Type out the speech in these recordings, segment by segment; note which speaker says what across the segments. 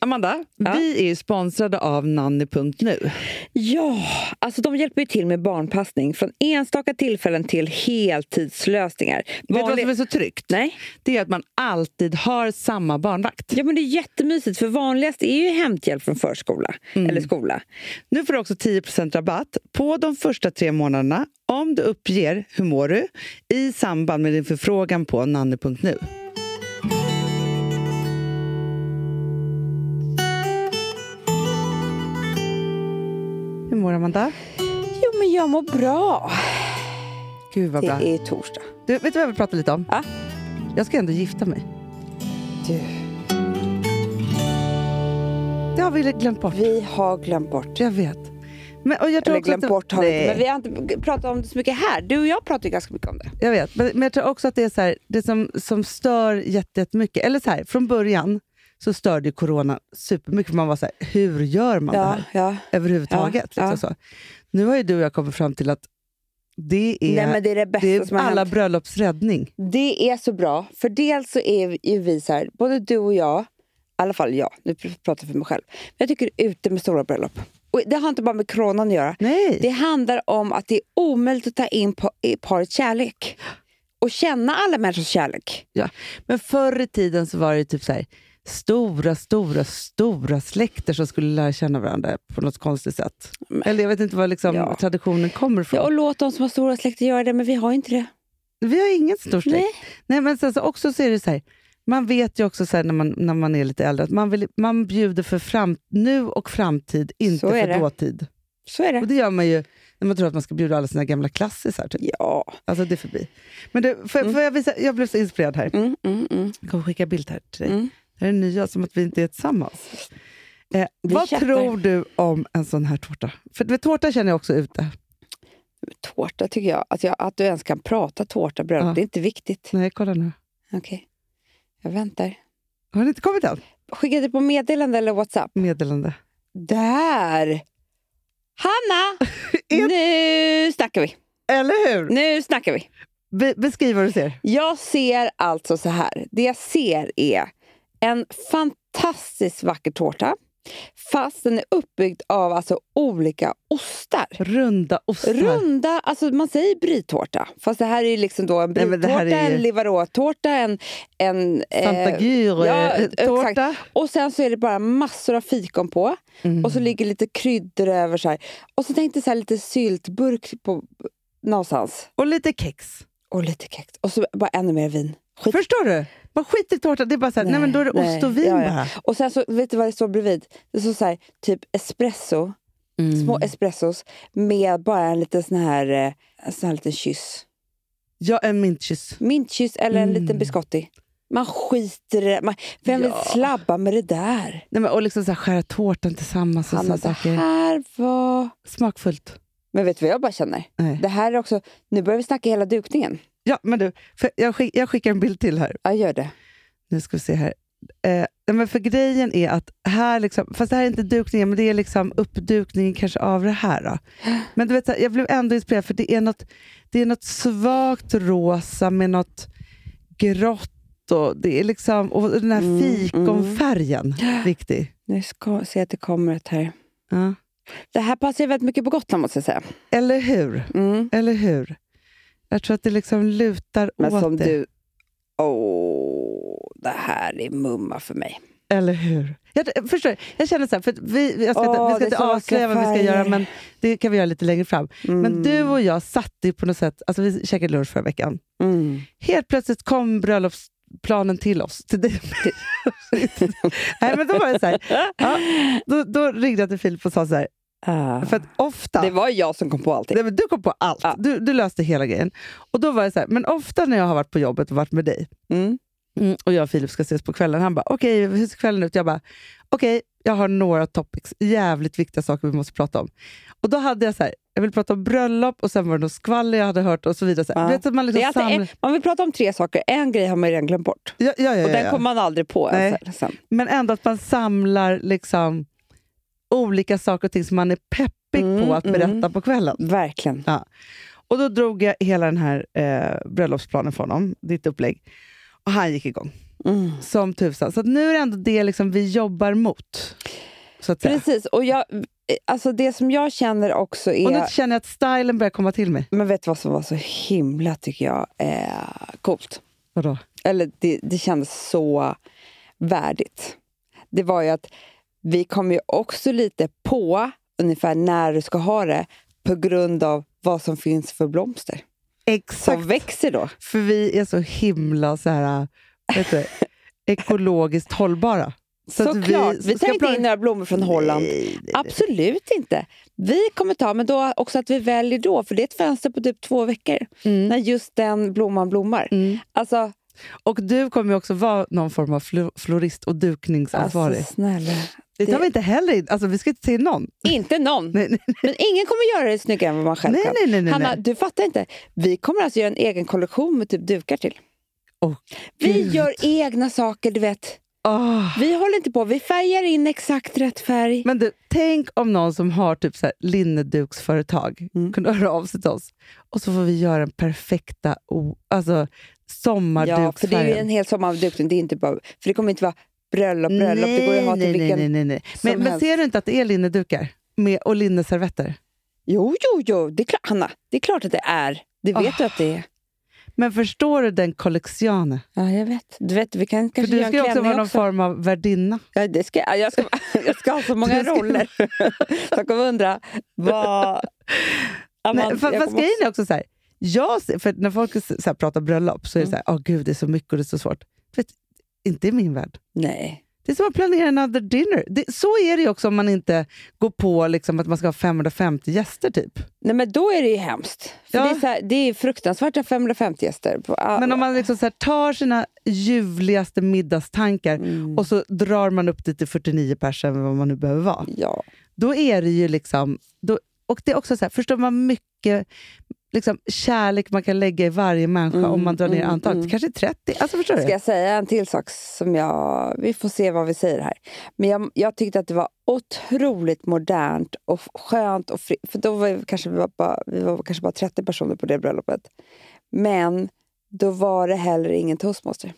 Speaker 1: Amanda,
Speaker 2: Ja.
Speaker 1: vi är ju sponsrade av nanny.nu.
Speaker 2: Ja, alltså de hjälper ju till med barnpassning från enstaka tillfällen till heltidslösningar.
Speaker 1: Vet du vad
Speaker 2: Vanlig-
Speaker 1: som är så tryggt?
Speaker 2: Nej.
Speaker 1: Det är att man alltid har samma barnvakt.
Speaker 2: Ja, men det är jättemysigt, för vanligast är ju hämthjälp från förskola eller skola.
Speaker 1: Nu får du också 10 rabatt på de första tre månaderna om du uppger hur mår du i samband med din förfrågan på nanny.nu. Hur mår Amanda?
Speaker 2: Jo, men jag mår bra.
Speaker 1: Gud vad
Speaker 2: Det
Speaker 1: bra.
Speaker 2: är torsdag.
Speaker 1: Du, vet du vad jag vill prata lite om?
Speaker 2: Ja.
Speaker 1: Jag ska ändå gifta mig.
Speaker 2: Du,
Speaker 1: Det har vi glömt bort.
Speaker 2: vi har glömt bort.
Speaker 1: Jag vet. Men, och jag tror också
Speaker 2: Eller
Speaker 1: att
Speaker 2: glömt
Speaker 1: det-
Speaker 2: bort har vi inte,
Speaker 1: Nej.
Speaker 2: men vi har inte pratat om det så mycket här. Du och jag pratar ju ganska mycket om det.
Speaker 1: Jag vet, men, men jag tror också att det är så här, det som, som stör jätte- jättemycket. Eller så här, från början så störde ju corona supermycket. För man var så här, hur gör man det här
Speaker 2: ja.
Speaker 1: överhuvudtaget?
Speaker 2: Ja,
Speaker 1: liksom Så. Nu har ju du och jag kommit fram till att det är,
Speaker 2: Nej, men det är det bästa
Speaker 1: det är
Speaker 2: som har
Speaker 1: alla
Speaker 2: hänt.
Speaker 1: bröllopsräddning.
Speaker 2: Det är så bra, för dels så är ju vi så här, både du och jag, i alla fall jag, nu pr- pratar jag för mig själv, men jag tycker ute med stora bröllop. Och det har inte bara med coronan att göra.
Speaker 1: Nej.
Speaker 2: Det handlar om att det är omöjligt att ta in pa- i parets kärlek. Och känna alla människors kärlek.
Speaker 1: Ja. Men förr i tiden så var det ju typ så här, stora, stora, stora släkter som skulle lära känna varandra på något konstigt sätt.
Speaker 2: Men-
Speaker 1: Eller jag vet inte var liksom
Speaker 2: Ja.
Speaker 1: traditionen kommer ifrån.
Speaker 2: Ja, och låt de som har stora släkter göra det, men vi har ju inte det.
Speaker 1: Vi har ingen stor släkt.
Speaker 2: Nej.
Speaker 1: Nej, men sen så också så är det så här, man vet ju också så här när, man, när man är lite äldre att man, vill, man bjuder för fram, nu och framtid, inte
Speaker 2: Så är
Speaker 1: för
Speaker 2: det.
Speaker 1: dåtid.
Speaker 2: Så är
Speaker 1: Och
Speaker 2: det.
Speaker 1: det gör man ju när man tror att man ska bjuda alla sina gamla klassisar. Typ.
Speaker 2: Ja.
Speaker 1: Alltså det är förbi. Men du, får, får jag, visa, jag blev så inspirerad här.
Speaker 2: Mm, mm, mm.
Speaker 1: Mm. Jag kommer skicka bild här till dig.
Speaker 2: Mm.
Speaker 1: Det här är nya, som att vi inte är tillsammans. Eh,
Speaker 2: Vi
Speaker 1: vad
Speaker 2: chattar.
Speaker 1: tror du om en sån här tårta? För med tårta känner jag också ute.
Speaker 2: Tårta tycker jag. Att, jag. att du ens kan prata tårta, bröllop,
Speaker 1: Ja.
Speaker 2: det är inte viktigt.
Speaker 1: Nej, kolla nu.
Speaker 2: Okej. Jag väntar.
Speaker 1: Har den inte kommit än?
Speaker 2: Skickade du på meddelande eller WhatsApp?
Speaker 1: Meddelande.
Speaker 2: Där! Hanna!
Speaker 1: Är-
Speaker 2: nu snackar vi.
Speaker 1: Eller hur?
Speaker 2: Nu snackar vi.
Speaker 1: Be- beskriv vad du ser.
Speaker 2: Jag ser alltså så här. Det jag ser är en fantastiskt vacker tårta. Fast den är uppbyggd av alltså olika ostar.
Speaker 1: Runda ostar.
Speaker 2: Runda, alltså man säger brytårta. Fast det här är ju liksom då en
Speaker 1: Nej, men det
Speaker 2: brytårta,
Speaker 1: här är ju-
Speaker 2: en livaråtårta, en... en
Speaker 1: Santa
Speaker 2: eh, ja,
Speaker 1: eh,
Speaker 2: exakt.
Speaker 1: Gyr-tårta.
Speaker 2: och sen så är det bara massor av fikon på.
Speaker 1: Mm.
Speaker 2: Och så ligger lite kryddor över. Så här. Och så tänkte jag så här, lite syltburk på, någonstans.
Speaker 1: och lite kex.
Speaker 2: Och lite kex. Och så bara ännu mer vin. Skit.
Speaker 1: Förstår du? Man skiter i tårta. Det är bara så här, nej,
Speaker 2: Nej,
Speaker 1: men då är det
Speaker 2: nej.
Speaker 1: ost och vin
Speaker 2: Ja, ja.
Speaker 1: bara.
Speaker 2: Och sen så, vet du vad det står bredvid? Det står så här, typ espresso. Små espressos med bara en liten sån här, eh, en sån här liten kyss.
Speaker 1: Ja, en mintkyss.
Speaker 2: Mintkyss eller en
Speaker 1: Mm.
Speaker 2: liten biscotti. Man skiter i det. Man, vem
Speaker 1: Ja.
Speaker 2: vill slabba med det där?
Speaker 1: Nej, men, och liksom så här, skära tårtan tillsammans. Och
Speaker 2: Hanna,
Speaker 1: såna
Speaker 2: det
Speaker 1: saker.
Speaker 2: här var...
Speaker 1: Smakfullt.
Speaker 2: Men vet du vad jag bara känner?
Speaker 1: Nej.
Speaker 2: Det här är också... Nu börjar vi snacka hela dukningen.
Speaker 1: Ja, men du, för jag, skick, jag skickar en bild till här.
Speaker 2: Ja, gör det.
Speaker 1: Nu ska vi se här. Eh, nej, men för grejen är att här, liksom, fast det här är inte dukningen, men det är liksom uppdukningen kanske av det här. Då. Men du vet, så här, jag blev ändå inspirerad för det är något, det är något svagt rosa med något grått och, det är liksom, och den här
Speaker 2: Mm,
Speaker 1: fikonfärgen. Viktig.
Speaker 2: Nu ska se att det kommer ett här.
Speaker 1: Ja.
Speaker 2: Det här passar ju väldigt mycket på Gotland måste jag säga.
Speaker 1: Eller hur?
Speaker 2: Mm.
Speaker 1: Eller hur? Jag tror att det liksom lutar
Speaker 2: Men
Speaker 1: åt
Speaker 2: som
Speaker 1: det.
Speaker 2: du... Åh, det här är mumma för mig.
Speaker 1: Eller hur? Jag, jag förstår, jag känner så här, för att vi, vi- jag ska,
Speaker 2: Åh,
Speaker 1: inte, vi
Speaker 2: det
Speaker 1: ska
Speaker 2: är
Speaker 1: inte
Speaker 2: så vackra
Speaker 1: avslöja vad vi ska
Speaker 2: färger.
Speaker 1: göra, men det kan vi göra lite längre fram. Men
Speaker 2: Mm.
Speaker 1: du och jag satt ju på något sätt, alltså vi käkade lunch förra veckan.
Speaker 2: Mm.
Speaker 1: Helt plötsligt kom bröllopsplanen till oss. Till dig. Nej, men då var det så här, ja, då, då ringde jag till Filip och sa så här,
Speaker 2: Ah.
Speaker 1: för att ofta...
Speaker 2: Det var jag som kom på allting.
Speaker 1: Nej, men du kom på allt.
Speaker 2: Ja.
Speaker 1: Du, du löste hela grejen. Och då var det så här, men ofta när jag har varit på jobbet och varit med dig,
Speaker 2: Mm.
Speaker 1: Mm, och jag och Filip ska ses på kvällen. Han bara, okej, hur ser kvällen ut? Jag bara, okej, jag har några topics, jävligt viktiga saker vi måste prata om. Och då hade jag så här, jag vill prata om bröllop och sen var det något skvaller jag hade hört och så vidare. Så här.
Speaker 2: Ja.
Speaker 1: Vet du, att man liksom
Speaker 2: Det är alltid
Speaker 1: samlar...
Speaker 2: en, man vill prata om tre saker. En grej har man redan glömt bort.
Speaker 1: Ja, ja, ja,
Speaker 2: Och
Speaker 1: ja,
Speaker 2: den
Speaker 1: ja.
Speaker 2: kommer man aldrig på. alltså, liksom.
Speaker 1: Nej.
Speaker 2: ens sen.
Speaker 1: Men ändå att man samlar liksom olika saker och ting som man är peppig
Speaker 2: Mm,
Speaker 1: på att berätta
Speaker 2: mm.
Speaker 1: på kvällen.
Speaker 2: Verkligen.
Speaker 1: Och då drog jag hela den här eh, bröllopsplanen för honom, ditt upplägg. Och han gick igång.
Speaker 2: Mm.
Speaker 1: som tusan. Så att nu är det ändå det liksom vi jobbar mot. Så att säga.
Speaker 2: Precis, och jag, alltså det som jag känner också är...
Speaker 1: Och nu känner jag att stylen börjar komma till mig.
Speaker 2: Men vet du vad som var så himla, tycker jag, eh, coolt?
Speaker 1: Vadå?
Speaker 2: Eller det, det kändes så värdigt. Det var ju att vi kom ju också lite på ungefär när du ska ha det på grund av vad som finns för blomster
Speaker 1: Exakt.
Speaker 2: som växer då.
Speaker 1: För vi är så himla så här, vet du, ekologiskt hållbara. Så att
Speaker 2: Såklart! Vi,
Speaker 1: ska
Speaker 2: tar inte
Speaker 1: plocka- Eh.
Speaker 2: in några blommor från Holland.
Speaker 1: Nej, nej, nej.
Speaker 2: Absolut inte. Vi kommer ta, men då också att vi väljer då, för det är ett fönster på typ två veckor
Speaker 1: Mm.
Speaker 2: när just den blomman blommar.
Speaker 1: Mm.
Speaker 2: Alltså,
Speaker 1: Och du kommer ju också vara någon form av flo- florist och dukningsansvarig.
Speaker 2: alltså snälla.
Speaker 1: det tar
Speaker 2: det-
Speaker 1: vi inte heller in. Alltså, vi ska inte till någon.
Speaker 2: Inte någon.
Speaker 1: Nej, nej,
Speaker 2: Men ingen kommer göra det snyggare än vad man själv
Speaker 1: nej.
Speaker 2: kan.
Speaker 1: nej, nej, nej.
Speaker 2: Hanna, du fattar inte. Vi kommer alltså göra en egen kollektion med typ dukar till.
Speaker 1: Åh,
Speaker 2: vi
Speaker 1: Gud.
Speaker 2: gör egna saker, du vet.
Speaker 1: Åh.
Speaker 2: Vi håller inte på. Vi färgar in exakt rätt färg.
Speaker 1: Men du, tänk om någon som har typ så här linneduksföretag
Speaker 2: Mm.
Speaker 1: kunde höra av sig till oss och så får vi göra den perfekta o- alltså,
Speaker 2: ja, för det är ju en
Speaker 1: sommarduksfärgen.
Speaker 2: hel sommar av dukning. Det är inte bara, för det kommer inte vara bröllop, bröllop. det går ju att ha till
Speaker 1: nej,
Speaker 2: vilken...
Speaker 1: nej, nej, nej, nej.
Speaker 2: som
Speaker 1: Men, men
Speaker 2: helst.
Speaker 1: ser du inte att det är linnedukar med, och linneservetter?
Speaker 2: Jo, jo, jo. Det är klart, Hanna, det är klart att det är. Det vet
Speaker 1: Ah.
Speaker 2: du att det är.
Speaker 1: Men förstår du den kollektionen?
Speaker 2: Ja, jag vet. Du vet, vi kan
Speaker 1: För
Speaker 2: kanske
Speaker 1: du
Speaker 2: göra
Speaker 1: ska ju
Speaker 2: en
Speaker 1: också vara
Speaker 2: klänning
Speaker 1: någon
Speaker 2: också.
Speaker 1: form av värdinna.
Speaker 2: Ja, det ska, ja, jag, ska, jag ska ha så många
Speaker 1: Du ska-
Speaker 2: roller. Jag kommer undra vad... Amanda,
Speaker 1: Nej, för,
Speaker 2: jag
Speaker 1: fast
Speaker 2: kommer
Speaker 1: grejen är också så här, jag ser, för när folk så här, pratar bröllop så är det
Speaker 2: Mm.
Speaker 1: så här, åh gud det är så mycket och det är så svårt. Du vet, inte i min värld.
Speaker 2: Nej.
Speaker 1: Det är som att planera another dinner. Det, så är det ju också om man inte går på liksom att man ska ha 550 gäster. typ.
Speaker 2: Nej, men då är det ju hemskt. För
Speaker 1: Ja.
Speaker 2: det, är så här, det är fruktansvärt att ha 550 gäster. På, ah,
Speaker 1: Men om man liksom så här tar sina ljuvligaste middagstankar
Speaker 2: Mm,
Speaker 1: och så drar man upp det till 49 personer vad man nu behöver vara.
Speaker 2: ja.
Speaker 1: Då är det ju liksom... Då, och det är också så här, förstår man mycket liksom, kärlek man kan lägga i varje människa
Speaker 2: Mm,
Speaker 1: om man drar ner
Speaker 2: mm,
Speaker 1: antalet.
Speaker 2: mm.
Speaker 1: Kanske 30. Alltså förstår
Speaker 2: Ska
Speaker 1: du?
Speaker 2: jag säga en till sak? som jag... Vi får se vad vi säger här. Men jag, jag tyckte att det var otroligt modernt och f- skönt. Och fri, för då var vi, kanske, vi, var bara, vi var kanske bara 30 personer på det bröllopet. Men då var det heller ingen toastmaster.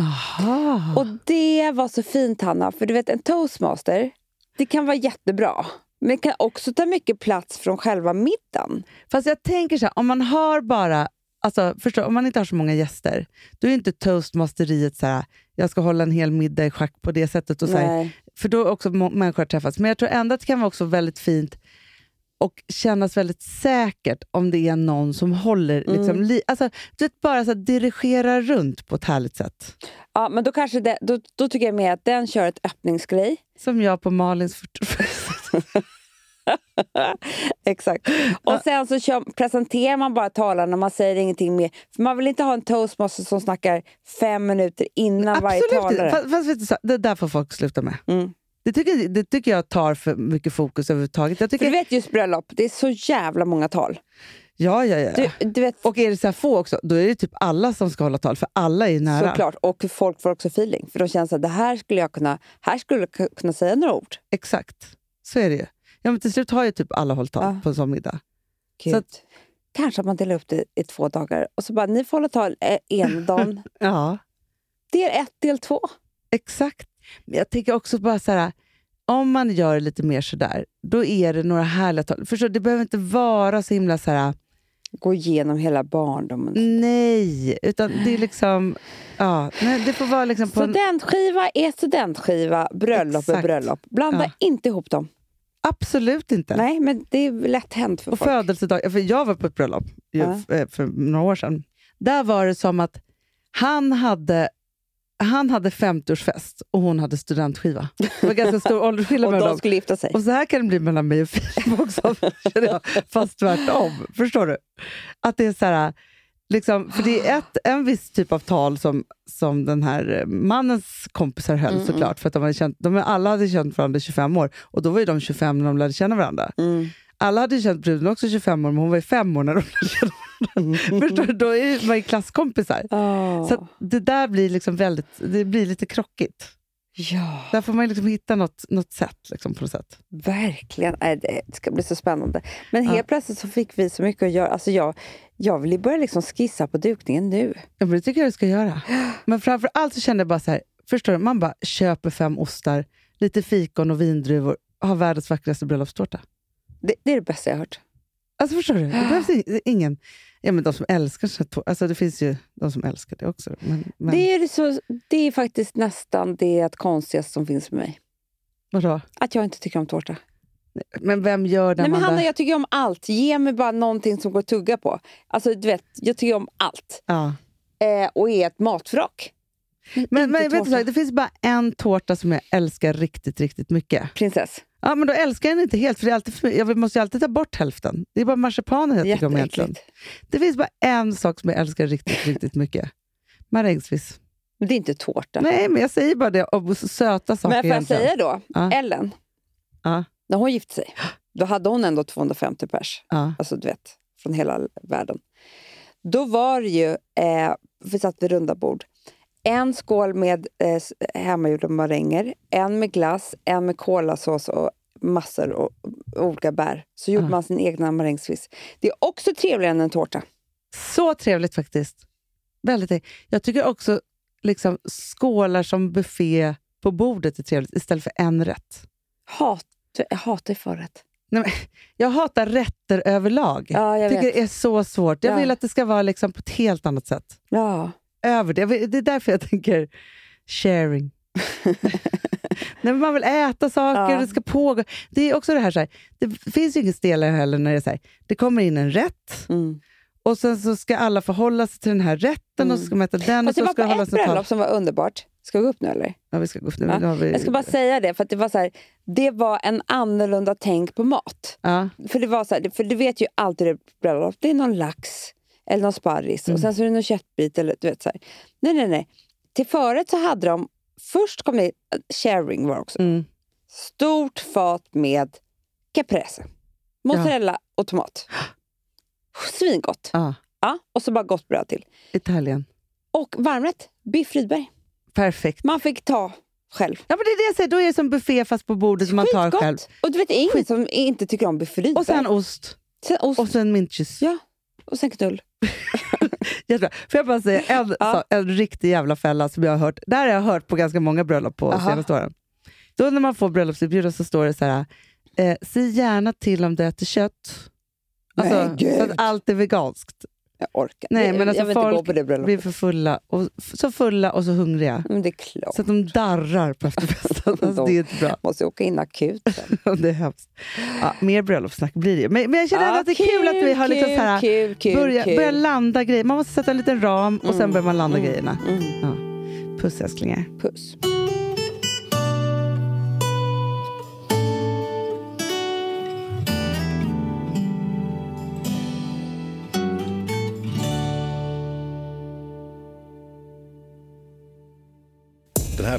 Speaker 1: Aha.
Speaker 2: Och det var så fint, Hanna. För du vet, en toastmaster, det kan vara jättebra. Men det kan också ta mycket plats från själva middagen.
Speaker 1: Fast jag tänker så här, om man har bara, alltså förstår, om man inte har så många gäster, då är inte toastmasteriet så här, jag ska hålla en hel middag i schack på det sättet. Och så här,
Speaker 2: Nej.
Speaker 1: för då är också må- människor har träffats. Men jag tror ändå att det kan vara också väldigt fint och kännas väldigt säkert om det är någon som håller,
Speaker 2: Mm.
Speaker 1: liksom, li- alltså, du vet, bara så här, dirigera runt på ett härligt sätt.
Speaker 2: Ja, men då, kanske det, då, då tycker jag mer att den kör ett öppningsgrej.
Speaker 1: Som jag på Malins 40
Speaker 2: Exakt. Och sen så kör, presenterar man bara talarna, man säger ingenting mer. För man vill inte ha en toastmaster som snackar fem minuter innan varje
Speaker 1: Absolut
Speaker 2: talare.
Speaker 1: inte. Fast, fast vet du, så- det där får folk sluta med.
Speaker 2: Mm.
Speaker 1: Det tycker, det tycker jag tar för mycket fokus överhuvudtaget. Jag
Speaker 2: För du
Speaker 1: tycker,
Speaker 2: vet just bröllop, det är så jävla många tal.
Speaker 1: ja, ja, ja.
Speaker 2: Du, du vet,
Speaker 1: Och är det så här få också, då är det typ alla som ska hålla tal, för alla är ju nära.
Speaker 2: såklart. Och folk får också feeling. För de känner att det här skulle jag kunna, här skulle jag ku- kunna säga några ord.
Speaker 1: Exakt. Så är det ju. Ja, men till slut har ju typ alla hållit tal
Speaker 2: Ja.
Speaker 1: på en sån middag.
Speaker 2: Gud.
Speaker 1: Så att-
Speaker 2: Kanske att man delar upp det i två dagar. Och så bara, ni får hålla tal eh, en dag.
Speaker 1: Ja,
Speaker 2: del ett, del två.
Speaker 1: exakt. Men jag tänker också bara så här, om man gör lite mer sådär, då är det några härliga tal. Förstår du, det behöver inte vara så himla så här,
Speaker 2: Gå igenom hela barndomen.
Speaker 1: Mm, nej, utan det är liksom, ja, nej, det får vara liksom på en,
Speaker 2: Studentskiva är studentskiva, bröllop är
Speaker 1: Exakt.
Speaker 2: bröllop. Blanda
Speaker 1: Ja.
Speaker 2: inte ihop dem.
Speaker 1: absolut inte.
Speaker 2: Nej, men det är lätt hänt för
Speaker 1: Och
Speaker 2: folk.
Speaker 1: födelsedag. För jag var på ett bröllop ju,
Speaker 2: Ja.
Speaker 1: f- eh, för några år sedan. Där var det som att han hade, han hade 50-årsfest och hon hade studentskiva. Det var ganska stor åldersskillnad
Speaker 2: Och
Speaker 1: mellan
Speaker 2: de
Speaker 1: dem.
Speaker 2: skulle gifta sig.
Speaker 1: Och så här kan det bli mellan mig och Filip också, känner jag. fast tvärtom. Förstår du? Att det är så här, liksom, för det är ett, en viss typ av tal som, som den här eh, mannens kompisar höll
Speaker 2: Mm, mm.
Speaker 1: såklart, för att de, hade känt, de alla hade känt varandra i 25 år och då var ju de 25 när de lärde känna varandra.
Speaker 2: Mm.
Speaker 1: Alla hade ju känt bruden också 25 år, men hon var ju 5 år när de lärde känna
Speaker 2: Mm.
Speaker 1: varandra. Förstår du? Då är man ju klasskompisar.
Speaker 2: Ah.
Speaker 1: Så att det där blir liksom väldigt, det blir lite krockigt.
Speaker 2: Ja,
Speaker 1: Där får man ju liksom hitta något, något sätt. Liksom, på något sätt.
Speaker 2: verkligen. Nej, det ska bli så spännande. Men
Speaker 1: Ja.
Speaker 2: helt plötsligt så fick vi så mycket att göra. Alltså jag, jag vill ju börja liksom skissa på dukningen nu.
Speaker 1: Ja, men det tycker jag du ska göra. Men framför allt så kände jag bara så här, förstår du, man bara köper fem ostar, lite fikon och vindruvor, har världens vackraste bröllopstårta.
Speaker 2: Det, det är det bästa jag har hört.
Speaker 1: Alltså förstår du? Det
Speaker 2: Ah.
Speaker 1: behövs i- ingen... Ja, men de som älskar såna här tår- alltså det finns ju de som älskar det också. Men, men
Speaker 2: Det, är så, det är faktiskt nästan det konstigaste som finns med mig.
Speaker 1: vadå?
Speaker 2: Att jag inte tycker om tårta.
Speaker 1: Men vem gör det,
Speaker 2: Nej, men
Speaker 1: Amanda?
Speaker 2: Hanna, jag tycker om allt. Ge mig bara någonting som går att tugga på. Alltså, du vet, jag tycker om allt.
Speaker 1: ja.
Speaker 2: Eh, och är ett matvrak.
Speaker 1: Men, men
Speaker 2: Inte
Speaker 1: vet du, så här,
Speaker 2: tårta.
Speaker 1: det finns bara en tårta som jag älskar riktigt, riktigt mycket.
Speaker 2: Prinsess.
Speaker 1: Ja, men då älskar jag den inte helt, för det är alltid för mig. jag måste ju alltid ta bort hälften. Det är bara marsipanen jag tycker om egentligen.
Speaker 2: Jätteäckligt.
Speaker 1: Det finns bara en sak som jag älskar riktigt, riktigt mycket. Marängsviss.
Speaker 2: Men det är inte tårta.
Speaker 1: Nej, men jag säger bara det om söta saker
Speaker 2: men får jag
Speaker 1: egentligen.
Speaker 2: säga då?
Speaker 1: Ja.
Speaker 2: Ellen,
Speaker 1: Ja.
Speaker 2: när hon gifte sig, då hade hon ändå 250 pers.
Speaker 1: Ja.
Speaker 2: Alltså, du vet, från hela världen. Då var det ju, eh, vi satt vid runda bord, en skål med eh, s- hemmagjorda maränger, en med glass, en med kolasås och massor och och olika bär. Så gjorde
Speaker 1: Ah.
Speaker 2: man sin egna marängsviss. Det är också trevligare än en tårta.
Speaker 1: Så trevligt faktiskt. Väldigt trevligt. Jag tycker också liksom, skålar som buffé på bordet är trevligt istället för en rätt.
Speaker 2: Hat, jag hatar ju förrätt.
Speaker 1: Jag hatar rätter överlag.
Speaker 2: Ja, jag
Speaker 1: jag tycker
Speaker 2: vet.
Speaker 1: det är så svårt. Jag
Speaker 2: Ja.
Speaker 1: vill att det ska vara liksom, på ett helt annat sätt.
Speaker 2: Ja.
Speaker 1: Över det. Jag vill- det är därför jag tänker sharing. Nej, men man vill äta saker,
Speaker 2: Ja.
Speaker 1: det ska pågå. Det är också det här, så här det finns ju inget stelare heller när det är så här, det kommer in en rätt
Speaker 2: Mm.
Speaker 1: och sen så ska alla förhålla sig till den här rätten
Speaker 2: Mm.
Speaker 1: och så ska man äta den och
Speaker 2: Fast det
Speaker 1: så
Speaker 2: var
Speaker 1: ska
Speaker 2: på
Speaker 1: det
Speaker 2: ett
Speaker 1: hållas ett tal.
Speaker 2: bröllop som var underbart. Ska vi gå upp nu eller?
Speaker 1: Ja, vi ska gå upp nu.
Speaker 2: Ja,
Speaker 1: nu har vi...
Speaker 2: Jag ska bara säga det, för att det var så här, det var en annorlunda tänk på mat.
Speaker 1: ja.
Speaker 2: För det var så här, för du vet ju alltid det är bröllop, det är någon lax eller någon sparris och
Speaker 1: Mm.
Speaker 2: sen så är det någon köttbit eller du vet så här. Nej, nej, nej. Till förrätt så hade de, först kom det, eh, sharing var också,
Speaker 1: Mm.
Speaker 2: stort fat med caprese, mozzarella och tomat. Svingott.
Speaker 1: ja.
Speaker 2: Ja, och så bara gott bröd till.
Speaker 1: Italien.
Speaker 2: Och varmrätt, biff Rydberg.
Speaker 1: Perfekt.
Speaker 2: Man fick ta själv.
Speaker 1: Ja, men det är det jag säger. Då är det som buffé fast på bordet som man tar
Speaker 2: Skitgott.
Speaker 1: själv.
Speaker 2: Och du vet, det är ingen som inte tycker om biff Rydberg.
Speaker 1: Och sen ost.
Speaker 2: sen ost
Speaker 1: Och sen mintkyss.
Speaker 2: Ja. och sen knull.
Speaker 1: Jättebra. Får jag bara säga en,
Speaker 2: Ja.
Speaker 1: sak, en riktig jävla fälla som jag har hört. Det här har jag hört på ganska många bröllop på
Speaker 2: Aha.
Speaker 1: senaste åren. Då när man får bröllopsinbjudan så står det så här. Eh, Säg gärna till om du äter kött.
Speaker 2: Nej,
Speaker 1: Alltså,
Speaker 2: gud.
Speaker 1: så att allt är veganskt.
Speaker 2: Jag orkar
Speaker 1: Nej,
Speaker 2: jag,
Speaker 1: men alltså
Speaker 2: jag vill inte gå
Speaker 1: folk
Speaker 2: på det bröllopet.
Speaker 1: blir för fulla och, så fulla och så hungriga.
Speaker 2: Men det är klart.
Speaker 1: Så att de darrar på efterfesten. Alltså, det är inte bra.
Speaker 2: Måste åka in akut. sen.
Speaker 1: Ja, Det är hemskt. Ja, mer bröllopssnack blir det ju. Men, men jag känner ändå att det är kul att vi har liksom så här,
Speaker 2: Ah, kul, kul,
Speaker 1: börja,
Speaker 2: kul.
Speaker 1: börja landa grejer. Man måste sätta en liten ram och sen
Speaker 2: Mm,
Speaker 1: börjar man landa
Speaker 2: mm,
Speaker 1: grejerna.
Speaker 2: Mm,
Speaker 1: Puss älsklingar.
Speaker 2: puss.
Speaker 3: Den här